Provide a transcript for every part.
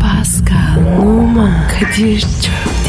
Pascal, Oman, Kadir çok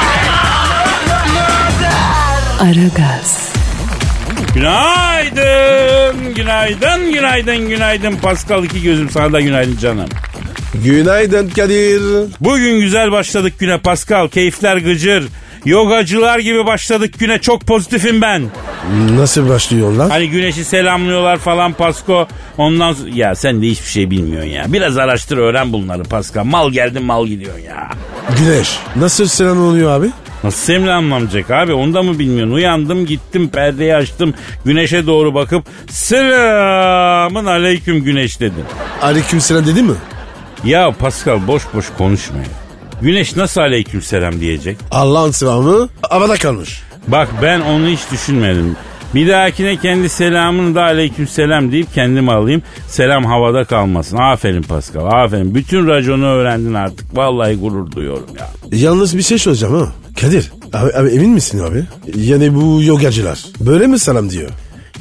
Aragaz, Günaydın, günaydın, günaydın, günaydın. Pascal iki gözüm sana da günaydın canım. Günaydın Kadir. Bugün güzel başladık güne Pascal. Keyifler gıcır. Yogacılar gibi başladık güne. Çok pozitifim ben. Nasıl başlıyor lan? Hani güneşi selamlıyorlar falan Pasko. Ondan so- ya sen de hiçbir şey bilmiyorsun ya. Biraz araştır öğren bunları Pascal. Mal geldin mal gidiyorsun ya. Güneş. Nasıl selam oluyor abi? Nasıl selamlanacak abi onu da mı bilmiyorsun? Uyandım gittim perdeyi açtım güneşe doğru bakıp selamın aleyküm güneş dedim. Aleyküm selam dedi mi? Ya Pascal boş boş konuşma ya. Güneş nasıl aleyküm selam diyecek? Allah'ın selamı havada kalmış. Bak ben onu hiç düşünmedim. Bir dahakine kendi selamını da aleyküm selam deyip kendim alayım. Selam havada kalmasın. Aferin Pascal aferin. Bütün raconu öğrendin artık. Vallahi gurur duyuyorum ya. Yalnız bir şey soracağım ha. Kadir. Abi, abi emin misin abi? Yani bu yogacılar. Böyle mi selam diyor?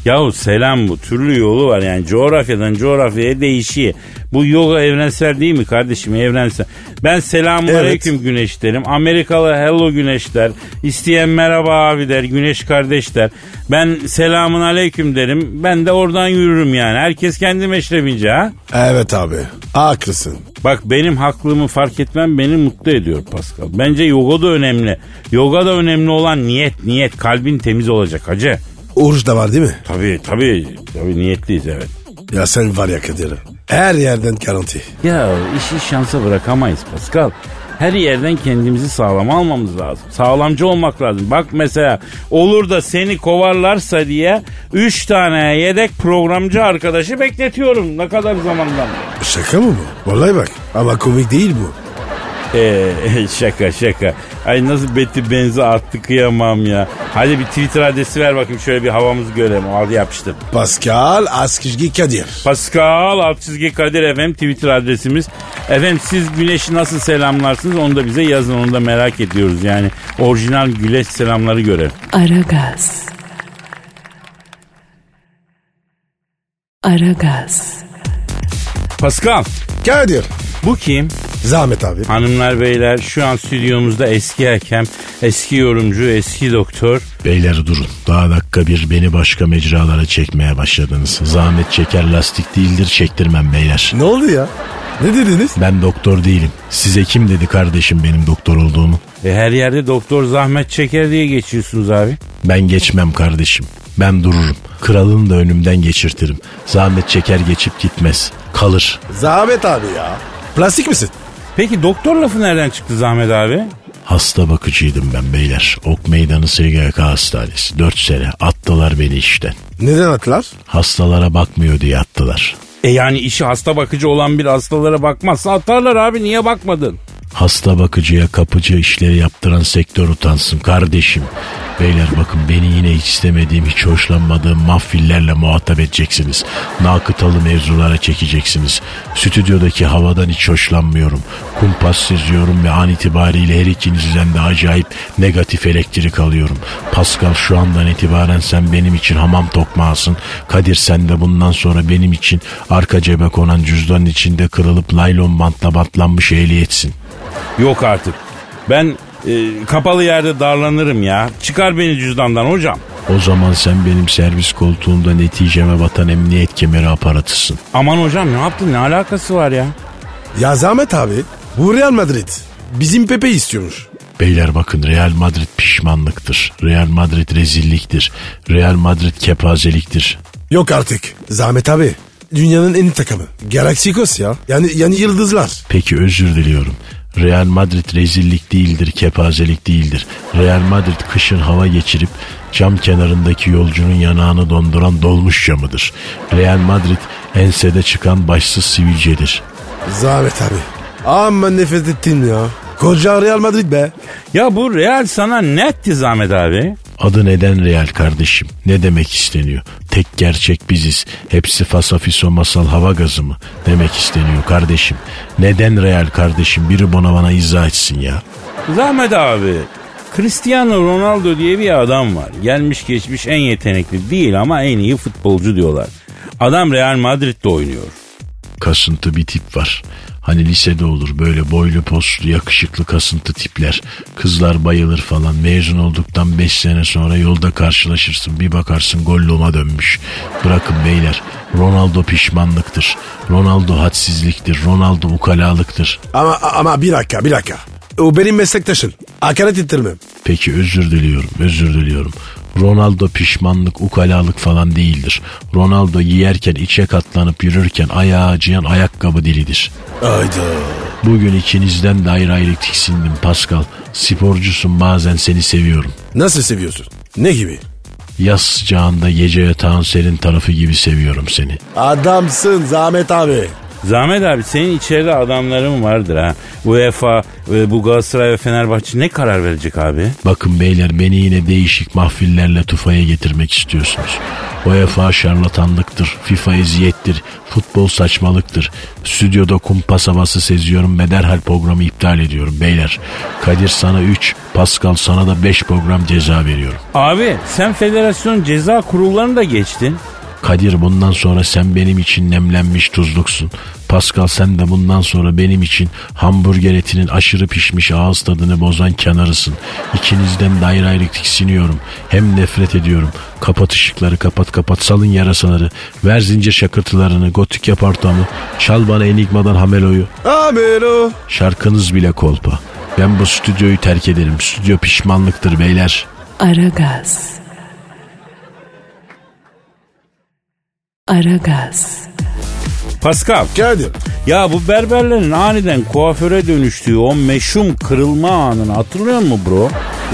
Yahu selam bu. Türlü yolu var yani. Coğrafyadan coğrafyaya değişiyor. Bu yoga evrensel değil mi kardeşim? Evrensel. Ben selamun Evet. aleyküm güneş derim. Amerikalı hello güneş der. İsteyen merhaba abi der. Güneş kardeş der. Ben selamun aleyküm derim. Ben de oradan yürürüm yani. Herkes kendi meşrebince ha. Evet abi. Haklısın. Bak benim haklımı fark etmem beni mutlu ediyor Pascal. Bence yoga da önemli. Yoga da önemli olan niyet niyet. Kalbin temiz olacak hacı. Oruç da var değil mi? Tabii tabii. Tabii niyetliyiz evet. Ya sen var ya Kadir. Her yerden garanti. Ya işi şansa bırakamayız Pascal. Her yerden kendimizi sağlam almamız lazım. Sağlamcı olmak lazım. Bak mesela olur da seni kovarlarsa diye 3 tane yedek programcı arkadaşı bekletiyorum. Ne kadar zamandan. Şaka mı bu? Vallahi bak. Ama komik değil bu. Ee, şaka şaka. Ay nasıl beti benzi attı kıyamam ya. Hadi bir Twitter adresi ver bakayım şöyle bir havamızı görelim. Hadi yapıştır. Pascal Askizgi Kadir. Pascal alt çizgi Kadir efendim Twitter adresimiz. Efendim siz güneşi nasıl selamlarsınız onu da bize yazın onu da merak ediyoruz yani. Orijinal güneş selamları görelim. Aragaz. Aragaz, Pascal Kadir. bu kim? Zahmet abi. Hanımlar beyler şu an stüdyomuzda eski hakem, eski yorumcu, eski doktor. Beyler durun. Daha dakika bir beni başka mecralara çekmeye başladınız. Zahmet çeker lastik değildir çektirmem beyler. Ne oldu ya? Ne dediniz? Ben doktor değilim. Size kim dedi kardeşim benim doktor olduğumu? E, her yerde doktor zahmet çeker diye geçiyorsunuz abi. Ben geçmem kardeşim. Ben dururum. Kralını da önümden geçirtirim. Zahmet çeker geçip gitmez. Kalır. Zahmet abi ya. Plastik misin? Peki doktor lafı nereden çıktı Zahmet abi? Hasta bakıcıydım ben beyler. Ok Meydanı SGK Hastanesi. 4 sene attılar beni işten. Neden atlar? Hastalara bakmıyor diye attılar. E yani işi hasta bakıcı olan bir hastalara bakmazsa atarlar abi niye bakmadın? Hasta bakıcıya kapıcı işleri yaptıran sektör utansın kardeşim. Beyler bakın beni yine hiç istemediğim, hiç hoşlanmadığım mahfillerle muhatap edeceksiniz. Nakıtalı mevzulara çekeceksiniz. Stüdyodaki havadan hiç hoşlanmıyorum. Kumpassız yorum ve an itibariyle her ikinizden de acayip negatif elektrik alıyorum. Pascal şu andan itibaren sen benim için hamam tokmağısın. Kadir sen de bundan sonra benim için arka cebe konan cüzdanın içinde kırılıp laylon bantla bantlanmış ehliyetsin. Yok artık. Ben e, kapalı yerde darlanırım ya. Çıkar beni cüzdandan hocam. O zaman sen benim servis koltuğumda neticeme batan emniyet kemeri aparatısın. Aman hocam ne yaptın ne alakası var ya? Ya Zahmet abi. Bu Real Madrid. Bizim Pepe istiyormuş. Beyler bakın Real Madrid pişmanlıktır. Real Madrid rezilliktir. Real Madrid kepazeliktir. Yok artık. Zahmet abi. Dünyanın en iyi takımı. Galaksikos ya. Yani yani yıldızlar. Peki özür diliyorum. Real Madrid rezillik değildir, kepazelik değildir. Real Madrid kışın hava geçirip cam kenarındaki yolcunun yanağını donduran dolmuş camıdır. Real Madrid ensede çıkan başsız sivilcedir. Zahmet abi. Aman nefret ettim ya. Koca Real Madrid be. Ya bu Real sana ne etti Zahmet abi? Adı neden real kardeşim? Ne demek isteniyor? Tek gerçek biziz. Hepsi fasafiso masal hava gazı mı? Demek isteniyor kardeşim. Neden real kardeşim? Biri bana bana izah etsin ya. Zahmet abi. Cristiano Ronaldo diye bir adam var. Gelmiş geçmiş en yetenekli değil ama en iyi futbolcu diyorlar. Adam Real Madrid'de oynuyor. Kasıntı bir tip var. Hani lisede olur böyle boylu poslu yakışıklı kasıntı tipler. Kızlar bayılır falan. Mezun olduktan 5 sene sonra yolda karşılaşırsın. Bir bakarsın golluma dönmüş. Bırakın beyler. Ronaldo pişmanlıktır. Ronaldo hadsizliktir. Ronaldo ukalalıktır. Ama ama bir dakika bir dakika. O benim meslektaşım. Hakaret ettirmem. Peki özür diliyorum, özür diliyorum. Ronaldo pişmanlık, ukalalık falan değildir. Ronaldo yiyerken, içe katlanıp yürürken ayağı acıyan ayakkabı dilidir. Hayda. Bugün ikinizden de ayrı ayrı tiksindim Pascal. Sporcusun bazen seni seviyorum. Nasıl seviyorsun? Ne gibi? Yaz sıcağında gece yatağın serin tarafı gibi seviyorum seni. Adamsın Zahmet abi. Zahmet abi senin içeride adamların vardır ha. UEFA, e, bu Galatasaray ve Fenerbahçe ne karar verecek abi? Bakın beyler beni yine değişik mahfillerle tufaya getirmek istiyorsunuz. UEFA şarlatanlıktır, FIFA eziyettir, futbol saçmalıktır. Stüdyoda kumpas havası seziyorum ve derhal programı iptal ediyorum beyler. Kadir sana 3, Pascal sana da 5 program ceza veriyorum. Abi sen federasyon ceza kurullarını da geçtin. Kadir bundan sonra sen benim için nemlenmiş tuzluksun. Pascal sen de bundan sonra benim için hamburger etinin aşırı pişmiş ağız tadını bozan kenarısın. İkinizden de ayrı ayrı tiksiniyorum. Hem nefret ediyorum. Kapat ışıkları kapat kapat salın yarasaları. Ver zincir şakırtılarını gotik yap ortamı. Çal bana enigmadan hameloyu. Amelo. Şarkınız bile kolpa. Ben bu stüdyoyu terk ederim. Stüdyo pişmanlıktır beyler. Aragaz. Aragaz. Pascal. Kadir. Ya bu berberlerin aniden kuaföre dönüştüğü o meşhum kırılma anını hatırlıyor musun bro?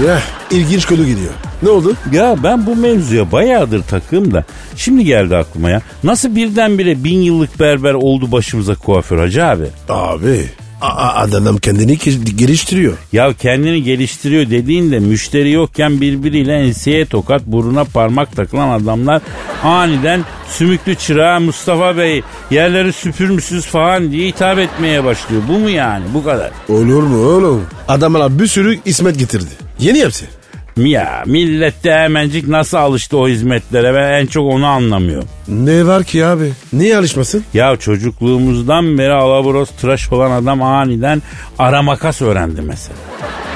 Eh, ilginç konu gidiyor. Ne oldu? Ya ben bu mevzuya bayağıdır takığım da şimdi geldi aklıma ya. Nasıl birdenbire bin yıllık berber oldu başımıza kuaför hacı abi? Abi. a- a- adam kendini ki- geliştiriyor. Ya kendini geliştiriyor dediğinde müşteri yokken birbiriyle enseye tokat buruna parmak takılan adamlar aniden sümüklü çırağa Mustafa Bey yerleri süpürmüşsünüz falan diye hitap etmeye başlıyor. Bu mu yani bu kadar? Olur mu oğlum? Adamlara bir sürü ismet getirdi. Yeni hepsi. Ya millet de hemencik nasıl alıştı o hizmetlere ben en çok onu anlamıyorum. Ne var ki abi? Niye alışmasın? Ya çocukluğumuzdan beri alabros tıraş olan adam aniden ara makas öğrendi mesela.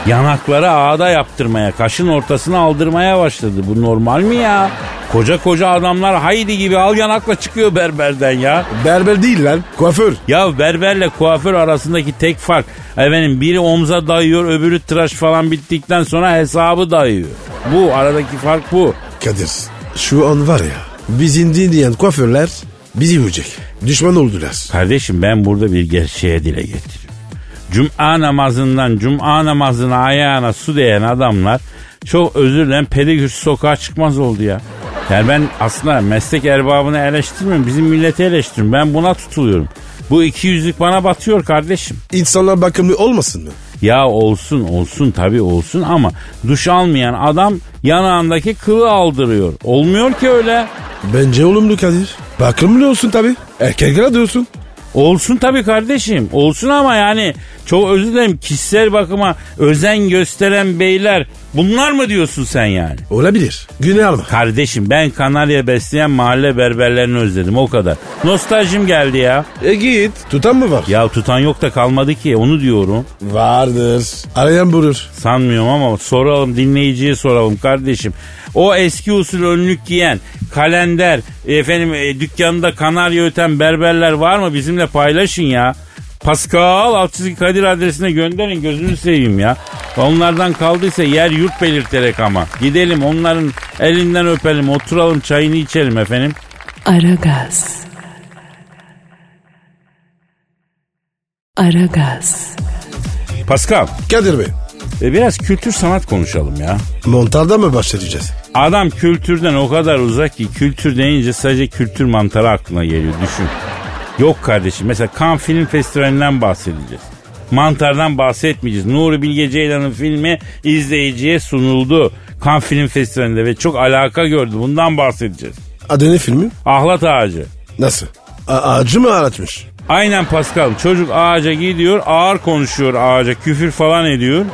Yanakları ağda yaptırmaya, kaşın ortasına aldırmaya başladı. Bu normal mi ya? Koca koca adamlar haydi gibi al yanakla çıkıyor berberden ya. Berber değil lan. Kuaför. Ya berberle kuaför arasındaki tek fark efendim biri omza dayıyor öbürü tıraş falan bittikten sonra hesabı dayıyor. Bu aradaki fark bu. Kadir. Şu an var ya. Bizim dinleyen kuaförler bizi vuracak. Düşman oldular. Kardeşim ben burada bir gerçeğe dile getiriyorum. Cuma namazından cuma namazına ayağına su değen adamlar çok özür dilerim pedikürsüz sokağa çıkmaz oldu ya. Yani ben aslında meslek erbabını eleştirmiyorum. Bizim milleti eleştiriyorum. Ben buna tutuluyorum. Bu iki yüzlük bana batıyor kardeşim. İnsanlar bakımlı olmasın mı? Ya olsun olsun tabii olsun ama duş almayan adam yanağındaki kılı aldırıyor. Olmuyor ki öyle. Bence olumlu Kadir. Bakımlı olsun tabi. Erkekler de olsun. Olsun tabii kardeşim. Olsun ama yani çok özür dilerim kişisel bakıma özen gösteren beyler bunlar mı diyorsun sen yani? Olabilir. Güney alma. Kardeşim ben Kanarya besleyen mahalle berberlerini özledim o kadar. Nostaljim geldi ya. E git. Tutan mı var? Ya tutan yok da kalmadı ki onu diyorum. Vardır. Arayan bulur. Sanmıyorum ama soralım dinleyiciye soralım kardeşim. O eski usul önlük giyen, kalender, efendim e, dükkanında kanarya öten berberler var mı? Bizimle paylaşın ya. Pascal alt çizgi Kadir adresine gönderin gözünü seveyim ya. Onlardan kaldıysa yer yurt belirterek ama. Gidelim onların elinden öpelim oturalım çayını içelim efendim. Aragaz. Aragaz. Pascal Kadir Bey. e, biraz kültür sanat konuşalım ya. Montarda mı başlayacağız? Adam kültürden o kadar uzak ki kültür deyince sadece kültür mantarı aklına geliyor düşün. Yok kardeşim mesela Cannes Film Festivali'nden bahsedeceğiz. mantardan bahsetmeyeceğiz. Nuri Bilge Ceylan'ın filmi izleyiciye sunuldu. Cannes Film Festivali'nde ve çok alaka gördü. Bundan bahsedeceğiz. Adı ne filmi? Ahlat ağacı. Nasıl? A- ağacı mı ağlatmış? Aynen Pascal. Çocuk ağaca gidiyor, ağır konuşuyor ağaca, küfür falan ediyor.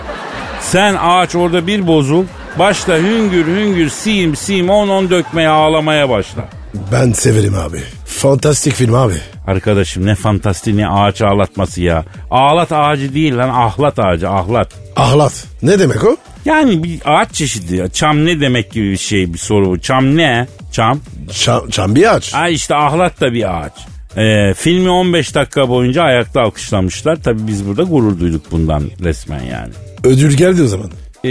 Sen ağaç orada bir bozul, başla hüngür hüngür sim sim on on dökmeye ağlamaya başla. Ben severim abi. Fantastik film abi. Arkadaşım ne fantastik ne ağaç ağlatması ya. Ağlat ağacı değil lan ahlat ağacı ahlat. Ahlat. Ne demek o? Yani bir ağaç çeşidi ya. Çam ne demek gibi bir şey bir soru bu. Çam ne? Çam. Çam, çam bir ağaç. Ha işte ahlat da bir ağaç. Ee, filmi 15 dakika boyunca ayakta alkışlamışlar. Tabii biz burada gurur duyduk bundan resmen yani. Ödül geldi o zaman. Ee,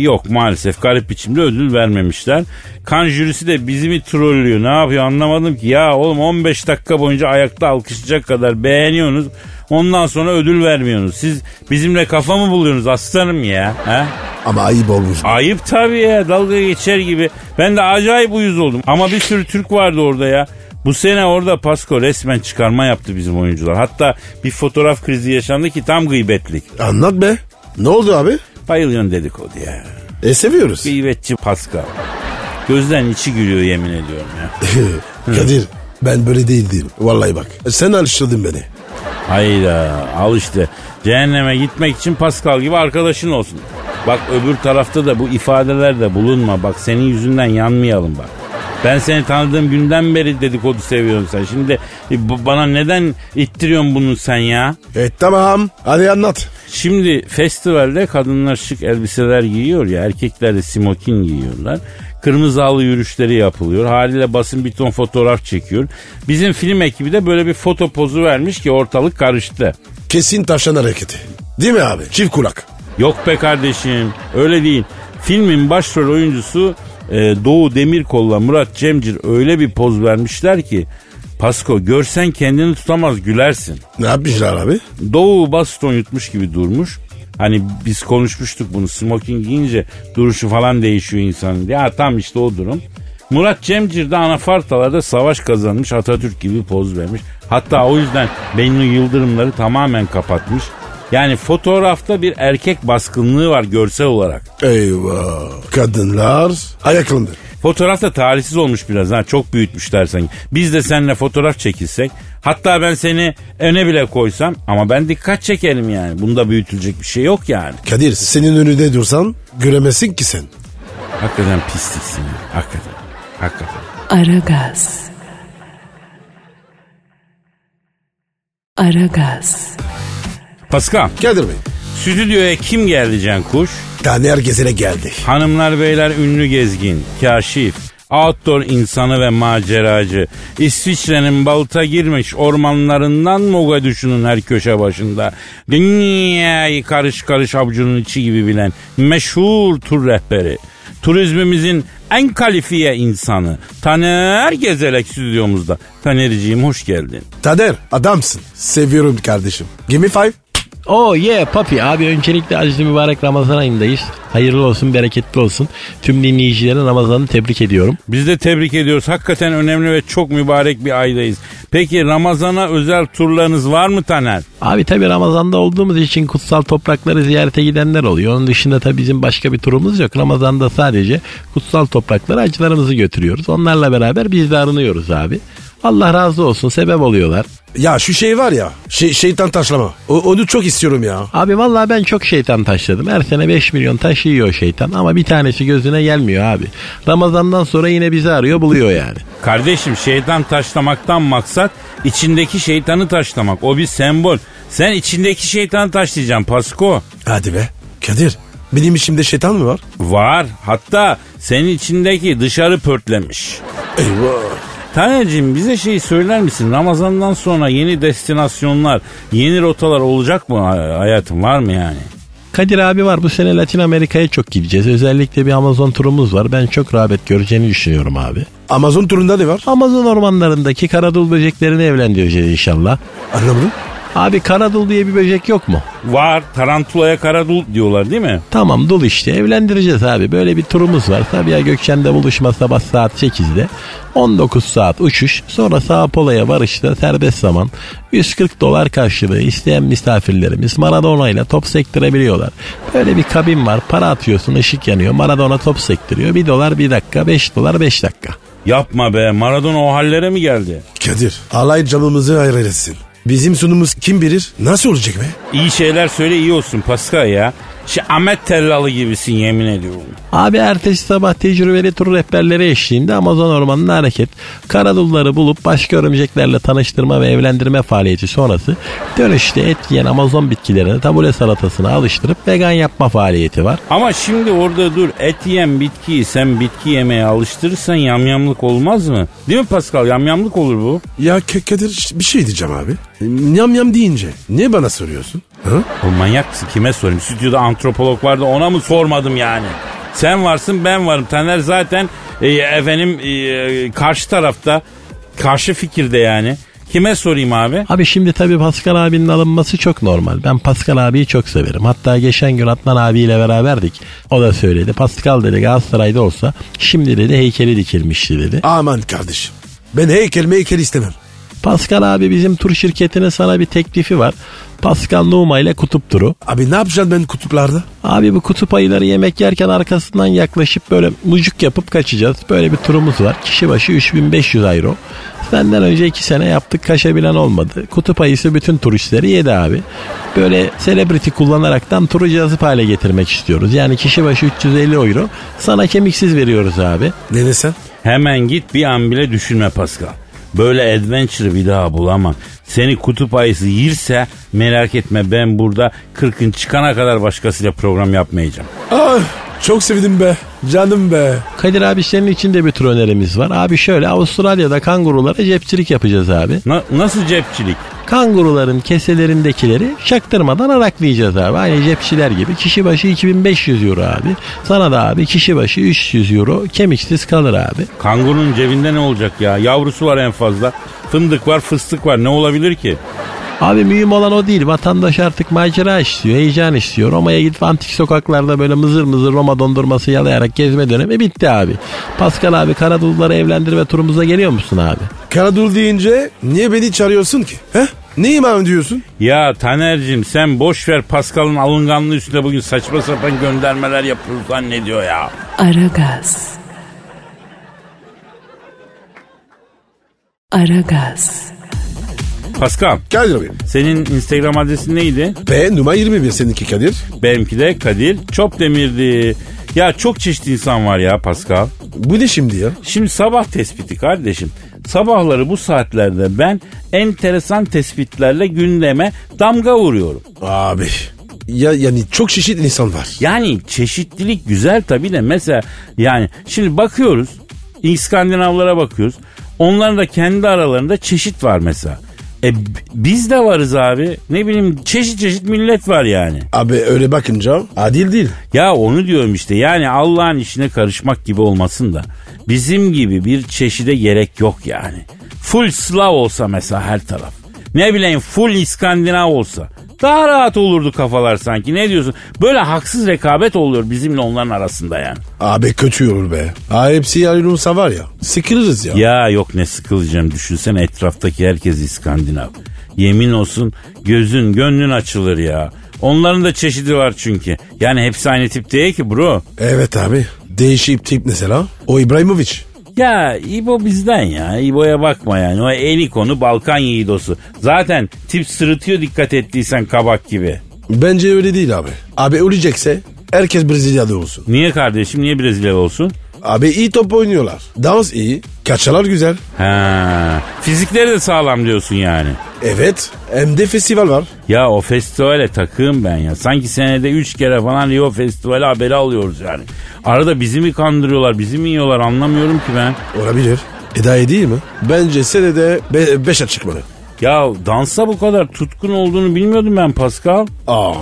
yok maalesef garip biçimde ödül vermemişler. Kan jürisi de bizi mi trollüyor ne yapıyor anlamadım ki. Ya oğlum 15 dakika boyunca ayakta alkışlayacak kadar beğeniyorsunuz. Ondan sonra ödül vermiyorsunuz. Siz bizimle kafa mı buluyorsunuz aslanım ya? He? Ama ayıp olmuş. Ayıp tabii ya dalga geçer gibi. Ben de acayip uyuz oldum. Ama bir sürü Türk vardı orada ya. Bu sene orada Pasko resmen çıkarma yaptı bizim oyuncular. Hatta bir fotoğraf krizi yaşandı ki tam gıybetlik. Anlat be. Ne oldu abi? Bayılıyorsun dedikodu ya. E seviyoruz. Gıybetçi Pascal. Gözden içi gülüyor yemin ediyorum ya. Kadir ben böyle değil değilim. Vallahi bak. Sen alıştırdın beni. Hayda al işte. Cehenneme gitmek için Pascal gibi arkadaşın olsun. Bak öbür tarafta da bu ifadelerde bulunma. Bak senin yüzünden yanmayalım bak. Ben seni tanıdığım günden beri dedikodu seviyorum sen. Şimdi e, bu- bana neden ittiriyorsun bunu sen ya? E tamam. Hadi anlat. Şimdi festivalde kadınlar şık elbiseler giyiyor ya erkekler de smokin giyiyorlar. Kırmızı halı yürüyüşleri yapılıyor. Haliyle basın bir ton fotoğraf çekiyor. Bizim film ekibi de böyle bir foto pozu vermiş ki ortalık karıştı. Kesin tavşan hareketi. Değil mi abi? Çift kulak. Yok be kardeşim öyle değil. Filmin başrol oyuncusu e, Doğu Demirkol'la Murat Cemcir öyle bir poz vermişler ki Pasko görsen kendini tutamaz gülersin. Ne yapmışlar abi? Doğu baston yutmuş gibi durmuş. Hani biz konuşmuştuk bunu smoking giyince duruşu falan değişiyor insanın diye. Ha tam işte o durum. Murat Cemcir de anafartalarda savaş kazanmış Atatürk gibi poz vermiş. Hatta o yüzden Bennu Yıldırımları tamamen kapatmış. Yani fotoğrafta bir erkek baskınlığı var görsel olarak. Eyvah. Kadınlar ayaklandı. Fotoğraf da talihsiz olmuş biraz ha çok büyütmüşler sanki. Biz de seninle fotoğraf çekilsek hatta ben seni öne bile koysam ama ben dikkat çekerim yani. Bunda büyütülecek bir şey yok yani. Kadir senin önünde dursan göremezsin ki sen. Hakikaten pisliksin ya hakikaten. Hakikaten. Aragaz. Aragaz. Pascal Kadir Bey. stüdyoya kim geldi Can Kuş? Tane herkesine geldi. Hanımlar beyler ünlü gezgin, kaşif, outdoor insanı ve maceracı. İsviçre'nin balta girmiş ormanlarından Mogadüşü'nün her köşe başında. Dünyayı karış karış avucunun içi gibi bilen meşhur tur rehberi. Turizmimizin en kalifiye insanı. Taner Gezelek stüdyomuzda. Taner'ciğim hoş geldin. Taner adamsın. Seviyorum kardeşim. Give me five. Oh yeah papi abi öncelikle acil mübarek Ramazan ayındayız. Hayırlı olsun bereketli olsun. Tüm dinleyicilerin Ramazan'ını tebrik ediyorum. Biz de tebrik ediyoruz. Hakikaten önemli ve çok mübarek bir aydayız. Peki Ramazan'a özel turlarınız var mı Taner? Abi tabi Ramazan'da olduğumuz için kutsal toprakları ziyarete gidenler oluyor. Onun dışında tabi bizim başka bir turumuz yok. Ramazan'da sadece kutsal topraklara acılarımızı götürüyoruz. Onlarla beraber biz de arınıyoruz abi. Allah razı olsun sebep oluyorlar. Ya şu şey var ya. Şey, şeytan taşlama. O, onu çok istiyorum ya. Abi vallahi ben çok şeytan taşladım. Her sene 5 milyon taş yiyor şeytan ama bir tanesi gözüne gelmiyor abi. Ramazan'dan sonra yine bizi arıyor buluyor yani. Kardeşim şeytan taşlamaktan maksat içindeki şeytanı taşlamak. O bir sembol. Sen içindeki şeytanı taşlayacaksın Pasko. Hadi be. Kadir benim içimde şeytan mı var? Var. Hatta senin içindeki dışarı pörtlemiş. Eyvah. Taner'cim bize şey söyler misin? Ramazan'dan sonra yeni destinasyonlar, yeni rotalar olacak mı hay- hayatım? Var mı yani? Kadir abi var bu sene Latin Amerika'ya çok gideceğiz. Özellikle bir Amazon turumuz var. Ben çok rağbet göreceğini düşünüyorum abi. Amazon turunda ne var? Amazon ormanlarındaki karadul böceklerini evlendireceğiz inşallah. Anlamadım. Abi karadul diye bir böcek yok mu? Var tarantulaya karadul diyorlar değil mi? Tamam dul işte evlendireceğiz abi. Böyle bir turumuz var. Sabiha Gökçen'de buluşma sabah saat 8'de. 19 saat uçuş. Sonra Sao Paulo'ya varışta serbest zaman. 140 dolar karşılığı isteyen misafirlerimiz Maradona ile top sektirebiliyorlar. Böyle bir kabin var. Para atıyorsun ışık yanıyor. Maradona top sektiriyor. 1 dolar 1 dakika 5 dolar 5 dakika. Yapma be Maradona o hallere mi geldi? Kadir alay camımızı ayrılasın. Bizim sunumuz kim bilir nasıl olacak be? İyi şeyler söyle iyi olsun Pascal ya. Şu Ahmet Tellalı gibisin yemin ediyorum. Abi ertesi sabah tecrübeli tur rehberleri eşliğinde Amazon ormanına hareket, karadulları bulup başka örümceklerle tanıştırma ve evlendirme faaliyeti sonrası dönüşte et yiyen Amazon bitkilerini tabule salatasına alıştırıp vegan yapma faaliyeti var. Ama şimdi orada dur et yiyen bitkiyi sen bitki yemeye alıştırırsan yamyamlık olmaz mı? Değil mi Pascal yamyamlık olur bu. Ya K- Kadir ş- bir şey diyeceğim abi. Yam yam deyince niye bana soruyorsun? Ha? O manyak mısın? kime sorayım? Stüdyoda antropolog vardı ona mı sormadım yani? Sen varsın ben varım. Taner zaten e, efendim e, karşı tarafta karşı fikirde yani. Kime sorayım abi? Abi şimdi tabii Pascal abinin alınması çok normal. Ben Pascal abiyi çok severim. Hatta geçen gün Adnan abiyle beraberdik. O da söyledi. Pascal dedi Galatasaray'da olsa şimdi dedi heykeli dikilmişti dedi. Aman kardeşim. Ben heykel meykel istemem. Pascal abi bizim tur şirketine sana bir teklifi var. Pascal Numa ile kutup turu. Abi ne yapacağım ben kutuplarda? Abi bu kutup ayıları yemek yerken arkasından yaklaşıp böyle mucuk yapıp kaçacağız. Böyle bir turumuz var. Kişi başı 3500 euro. Senden önce iki sene yaptık kaçabilen olmadı. Kutup ayısı bütün turistleri yedi abi. Böyle celebrity kullanaraktan turu cazip hale getirmek istiyoruz. Yani kişi başı 350 euro. Sana kemiksiz veriyoruz abi. Ne desen? Hemen git bir an bile düşünme Pascal. Böyle adventure bir daha bulamam. Seni kutup ayısı yirse merak etme ben burada kırkın çıkana kadar başkasıyla program yapmayacağım. Ah çok sevdim be. Canım be. Kadir abi senin için de bir tur önerimiz var. Abi şöyle Avustralya'da kangurulara cepçilik yapacağız abi. Na- nasıl cepçilik? Kanguruların keselerindekileri çaktırmadan araklayacağız abi. Aynı cepçiler gibi. Kişi başı 2500 euro abi. Sana da abi kişi başı 300 euro kemiksiz kalır abi. Kangurunun cebinde ne olacak ya? Yavrusu var en fazla. Fındık var fıstık var ne olabilir ki? Abi mühim olan o değil. Vatandaş artık macera istiyor, heyecan istiyor. Roma'ya gidip antik sokaklarda böyle mızır mızır Roma dondurması yalayarak gezme dönemi bitti abi. Pascal abi Karadulları evlendirme turumuza geliyor musun abi? Karadul deyince niye beni çağırıyorsun ki? He? Neyim abi diyorsun? Ya Taner'cim sen boş ver Pascal'ın alınganlığı üstüne bugün saçma sapan göndermeler yapıyoruz zannediyor ya. Aragaz. Aragaz. Pascal Kadir abi. senin Instagram adresin neydi? P numara 21 seninki Kadir. Benimki de Kadir Çopdemir'di. Ya çok çeşitli insan var ya Pascal. Bu ne şimdi ya? Şimdi sabah tespiti kardeşim. Sabahları bu saatlerde ben enteresan tespitlerle gündeme damga vuruyorum. Abi. Ya yani çok çeşitli insan var. Yani çeşitlilik güzel tabii de mesela yani şimdi bakıyoruz İskandinavlara bakıyoruz. Onların da kendi aralarında çeşit var mesela. E b- biz de varız abi. Ne bileyim çeşit çeşit millet var yani. Abi öyle bakınca adil değil. Ya onu diyorum işte yani Allah'ın işine karışmak gibi olmasın da bizim gibi bir çeşide gerek yok yani. Full Slav olsa mesela her taraf. Ne bileyim full İskandinav olsa. Daha rahat olurdu kafalar sanki ne diyorsun? Böyle haksız rekabet oluyor bizimle onların arasında yani. Abi kötü olur be. Abi hepsi ayrılırsa var ya. Sıkılırız ya. Ya yok ne sıkılacağım düşünsene etraftaki herkes İskandinav. Yemin olsun gözün gönlün açılır ya. Onların da çeşidi var çünkü. Yani hepsi aynı tip değil ki bro. Evet abi. Değişik tip mesela. O İbrahimovic. Ya İbo bizden ya. İbo'ya bakma yani. O eli konu Balkan yiğidosu. Zaten tip sırıtıyor dikkat ettiysen kabak gibi. Bence öyle değil abi. Abi ölecekse herkes Brezilya'da olsun. Niye kardeşim? Niye Brezilya olsun? Abi iyi top oynuyorlar. Dans iyi. Kaçalar güzel. Ha, fizikleri de sağlam diyorsun yani. Evet. Hem de festival var. Ya o festivale takığım ben ya. Sanki senede 3 kere falan Rio Festivali haberi alıyoruz yani. Arada bizi mi kandırıyorlar, bizi mi yiyorlar anlamıyorum ki ben. Olabilir. Eda değil mi? Bence senede be- beşe çıkmalı. Ya dansa bu kadar tutkun olduğunu bilmiyordum ben Pascal. Aa.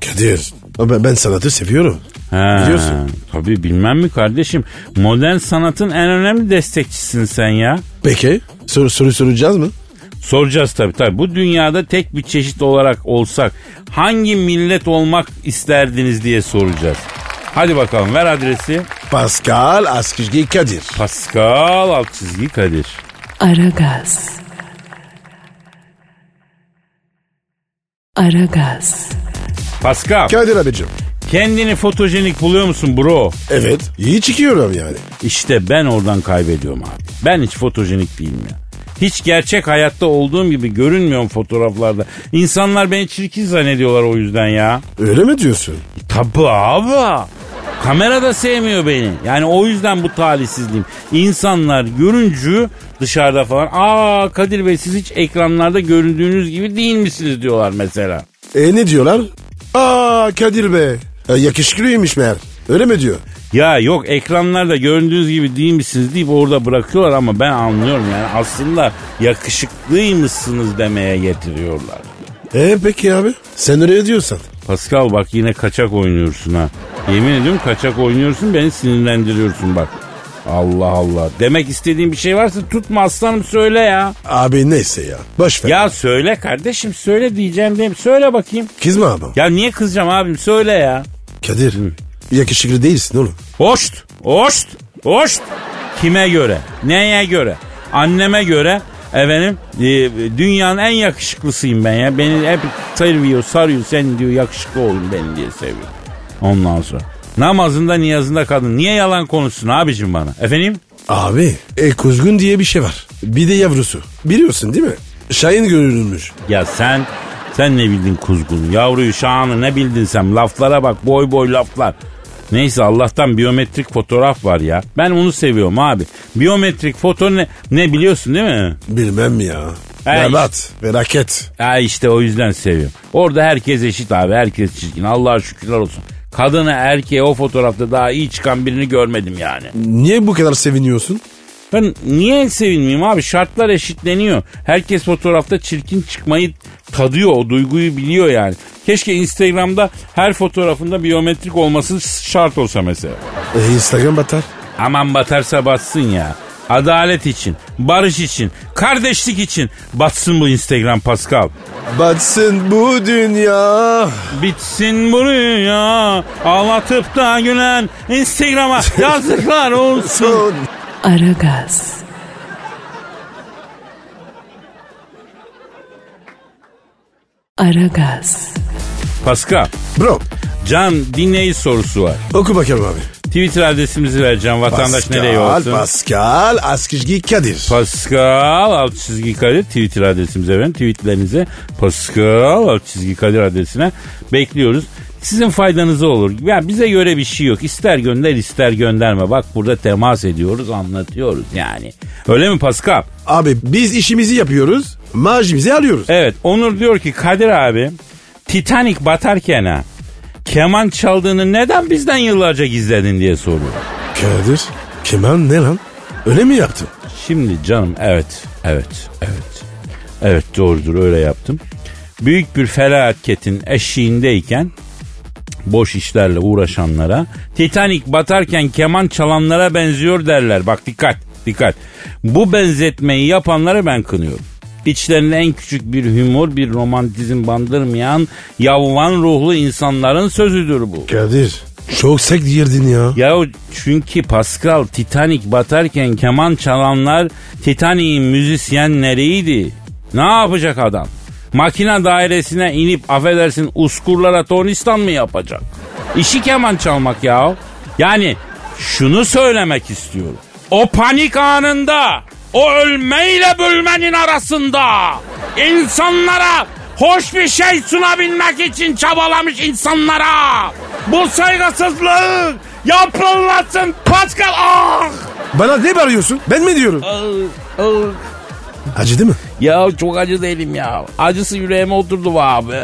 Kadir. Ben, ben sanatı seviyorum. Ha, Biliyorsun. Tabii bilmem mi kardeşim. Modern sanatın en önemli destekçisin sen ya. Peki. Soru, soru soracağız mı? Soracağız tabii tabii. Bu dünyada tek bir çeşit olarak olsak hangi millet olmak isterdiniz diye soracağız. Hadi bakalım ver adresi. Pascal Askizgi Kadir. Pascal alt çizgi Kadir. Aragaz. Aragaz. Pascal Kadir abicim. kendini fotojenik buluyor musun bro? Evet. İyi çıkıyorum yani. İşte ben oradan kaybediyorum abi. Ben hiç fotojenik değilim ya. Hiç gerçek hayatta olduğum gibi görünmüyorum fotoğraflarda. İnsanlar beni çirkin zannediyorlar o yüzden ya. Öyle mi diyorsun? Tabi abi. Kamera da sevmiyor beni. Yani o yüzden bu talihsizliğim. İnsanlar görüncü dışarıda falan. Aa Kadir Bey siz hiç ekranlarda göründüğünüz gibi değil misiniz diyorlar mesela. E ne diyorlar? Aa Kadir be. E, yakışıklıymış meğer. Öyle mi diyor? Ya yok ekranlarda göründüğünüz gibi değil misiniz deyip orada bırakıyorlar ama ben anlıyorum yani aslında yakışıklıymışsınız demeye getiriyorlar. E peki abi. Sen öyle diyorsan. Pascal bak yine kaçak oynuyorsun ha. Yemin ediyorum kaçak oynuyorsun beni sinirlendiriyorsun bak. Allah Allah. Demek istediğin bir şey varsa tutma aslanım söyle ya. Abi neyse ya. Boş ver. Ya söyle kardeşim söyle diyeceğim diyeyim. Söyle bakayım. Kızma abi. Ya niye kızacağım abim söyle ya. Kadir. Yakışıklı değilsin oğlum. Hoşt, hoşt, hoşt. Kime göre? Neye göre? Anneme göre. Efendim e, dünyanın en yakışıklısıyım ben ya. Beni hep seviyor, sarıyor. Sen diyor yakışıklı olun beni diye seviyor. Ondan sonra. Namazında niyazında kadın. Niye yalan konuşsun abicim bana? Efendim? Abi. E kuzgun diye bir şey var. Bir de yavrusu. Biliyorsun değil mi? Şahin görülmüş. Ya sen sen ne bildin kuzgun? Yavruyu şahını ne bildin sen? Laflara bak boy boy laflar. Neyse Allah'tan biyometrik fotoğraf var ya. Ben onu seviyorum abi. Biyometrik foto ne, ne biliyorsun değil mi? Bilmem ya. Hey. Berbat. Felaket. Ha işte o yüzden seviyorum. Orada herkes eşit abi. Herkes çirkin. Allah'a şükürler olsun. Kadını erkeğe o fotoğrafta daha iyi çıkan birini görmedim yani. Niye bu kadar seviniyorsun? Ben niye sevinmeyeyim abi? Şartlar eşitleniyor. Herkes fotoğrafta çirkin çıkmayı tadıyor. O duyguyu biliyor yani. Keşke Instagram'da her fotoğrafında biyometrik olması şart olsa mesela. E, Instagram batar. Aman batarsa batsın ya. Adalet için, barış için, kardeşlik için batsın bu Instagram Pascal. Batsın bu dünya. Bitsin bu rüya ağlatıp da gülen Instagram'a yazıklar olsun. Son. Aragaz. Aragaz. Pascal, Bro Can dinleyici sorusu var. oku bakalım abi. Twitter adresimizi vereceğim. Vatandaş Pascal, nereye olsun? Pascal Askizgi Kadir. Pascal alt çizgi Kadir Twitter adresimize verin. Tweetlerinizi Pascal alt çizgi Kadir adresine bekliyoruz. Sizin faydanıza olur. Ya bize göre bir şey yok. İster gönder ister gönderme. Bak burada temas ediyoruz anlatıyoruz yani. Öyle mi Pascal? abi biz işimizi yapıyoruz. Maaşımızı alıyoruz. Evet Onur diyor ki Kadir abi Titanic batarken ha keman çaldığını neden bizden yıllarca gizledin diye soruyor. Kadir keman ne lan? Öyle mi yaptın? Şimdi canım evet evet evet evet doğrudur öyle yaptım. Büyük bir felaketin eşiğindeyken boş işlerle uğraşanlara Titanic batarken keman çalanlara benziyor derler. Bak dikkat dikkat. Bu benzetmeyi yapanları ben kınıyorum. İçlerinde en küçük bir humor, bir romantizm bandırmayan yavvan ruhlu insanların sözüdür bu. Kadir çok sek girdin ya. Ya çünkü Pascal Titanic batarken keman çalanlar Titanic'in müzisyenleriydi. Ne yapacak adam? Makina dairesine inip affedersin uskurlara tornistan mı yapacak? İşi keman çalmak ya. Yani şunu söylemek istiyorum. O panik anında, o ölmeyle bölmenin arasında insanlara hoş bir şey sunabilmek için çabalamış insanlara. Bu saygısızlık yapılmasın Pascal ah! Bana ne bağırıyorsun? Ben mi diyorum? Acıdı mı? ah. Ya çok acı değilim ya. Acısı yüreğime oturdu be abi.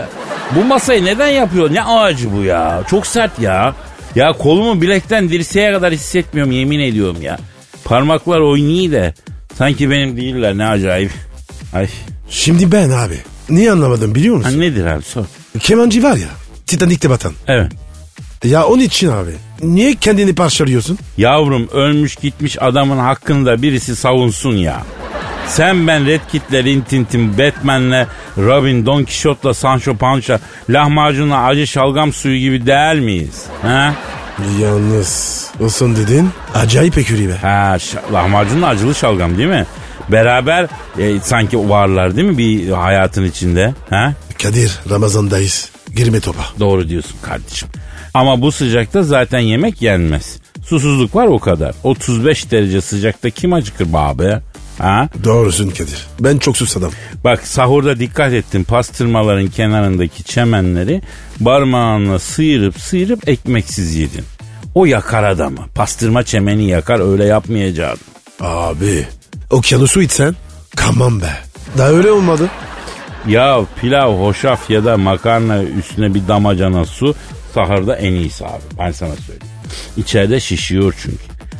Bu masayı neden yapıyor? Ne acı bu ya? Çok sert ya. Ya kolumu bilekten dirseğe kadar hissetmiyorum yemin ediyorum ya. Parmaklar oynuyor da. Sanki benim değiller ne acayip. Ay. Şimdi ben abi. Niye anlamadım biliyor Ha musun? nedir abi sor. Kemancı var ya. Titanik'te batan. Evet. Ya onun için abi. Niye kendini parçalıyorsun? Yavrum ölmüş gitmiş adamın hakkında birisi savunsun ya. Sen ben Red Kit'le, Rintintin, Batman'le, Robin, Don Quixote'la, Sancho Panza, lahmacunla acı şalgam suyu gibi değer miyiz? Ha? Yalnız o son dediğin acayip ekürü be. Ha, şa- lahmacunla acılı şalgam değil mi? Beraber e, sanki varlar değil mi bir hayatın içinde? Ha? Kadir Ramazan'dayız. Girme topa. Doğru diyorsun kardeşim. Ama bu sıcakta zaten yemek yenmez. Susuzluk var o kadar. 35 derece sıcakta kim acıkır be abi? Ha? Doğrusun Kadir. Ben çok susadım. Bak sahurda dikkat ettim pastırmaların kenarındaki çemenleri parmağınla sıyırıp sıyırıp ekmeksiz yedin. O yakar adamı. Pastırma çemeni yakar öyle yapmayacaksın. Abi okyanusu içsen kamam be. Daha öyle olmadı. Ya pilav, hoşaf ya da makarna üstüne bir damacana su sahurda en iyisi abi. Ben sana söyleyeyim. İçeride şişiyor çünkü.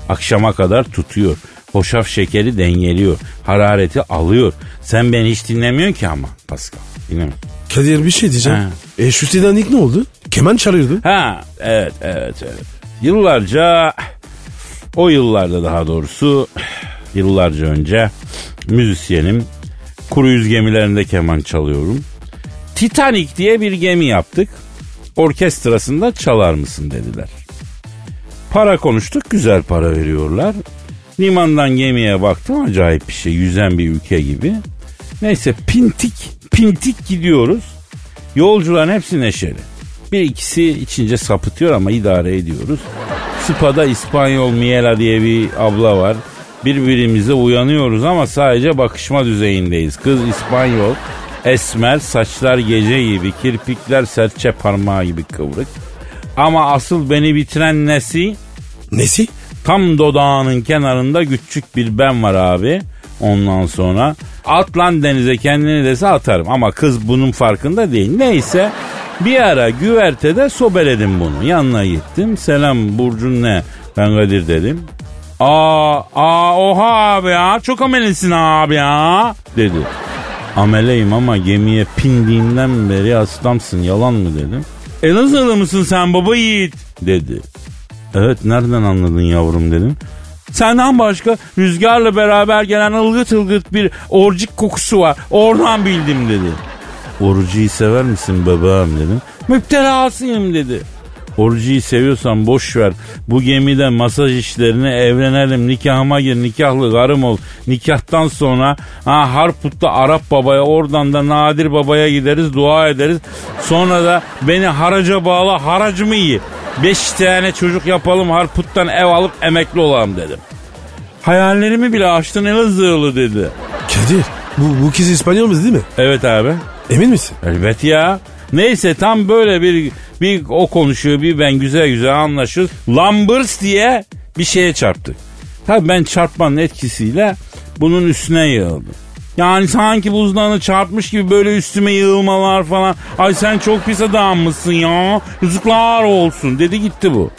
Akşama kadar tutuyor. Hoşaf şekeri dengeliyor. Harareti alıyor. Sen beni hiç dinlemiyorsun ki ama Pascal. Dinlemiyorum. Kadir bir şey diyeceğim. Ha. E şu Titanik ne oldu? Keman çalıyordu. Ha evet evet evet. Yıllarca o yıllarda daha doğrusu yıllarca önce müzisyenim. Kuru yüz gemilerinde keman çalıyorum. Titanic diye bir gemi yaptık. Orkestrasında çalar mısın dediler. Para konuştuk güzel para veriyorlar. Limandan gemiye baktım acayip bir şey yüzen bir ülke gibi. Neyse pintik pintik gidiyoruz. Yolcuların hepsi neşeli. Bir ikisi içince sapıtıyor ama idare ediyoruz. Spa'da İspanyol Miela diye bir abla var. Birbirimize uyanıyoruz ama sadece bakışma düzeyindeyiz. Kız İspanyol, esmer, saçlar gece gibi, kirpikler serçe parmağı gibi kıvrık. Ama asıl beni bitiren nesi? Nesi? Tam dodağının kenarında küçük bir ben var abi. Ondan sonra at lan denize kendini dese atarım. Ama kız bunun farkında değil. Neyse bir ara güvertede sobeledim bunu. Yanına gittim. Selam Burcun ne? Ben Kadir dedim. Aa, aa oha abi ya çok amelisin abi ya dedi. Ameleyim ama gemiye pindiğinden beri aslamsın yalan mı dedim. Elazığlı mısın sen baba yiğit dedi. Evet nereden anladın yavrum dedim. Senden başka rüzgarla beraber gelen ılgıt ılgıt bir orcik kokusu var. Oradan bildim dedi. Orucuyu sever misin bebeğim dedim. Müptelasıyım dedi. Orucuyu seviyorsan boş ver. Bu gemide masaj işlerini evlenelim. Nikahıma gir, nikahlı karım ol. Nikahtan sonra ha, Harput'ta Arap babaya, oradan da Nadir babaya gideriz, dua ederiz. Sonra da beni haraca bağla, haracımı ye. Beş tane çocuk yapalım, Harput'tan ev alıp emekli olalım dedim. Hayallerimi bile açtın Elazığlı dedi. Kadir bu, bu kız İspanyolumuz değil mi? Evet abi. Emin misin? Elbet ya. Neyse tam böyle bir bir o konuşuyor bir ben güzel güzel anlaşıyoruz. Lambers diye bir şeye çarptık. Tabii ben çarpmanın etkisiyle bunun üstüne yığıldım. Yani sanki buzdanı çarpmış gibi böyle üstüme yığılmalar falan. Ay sen çok pis adammışsın ya. Yazıklar olsun dedi gitti bu.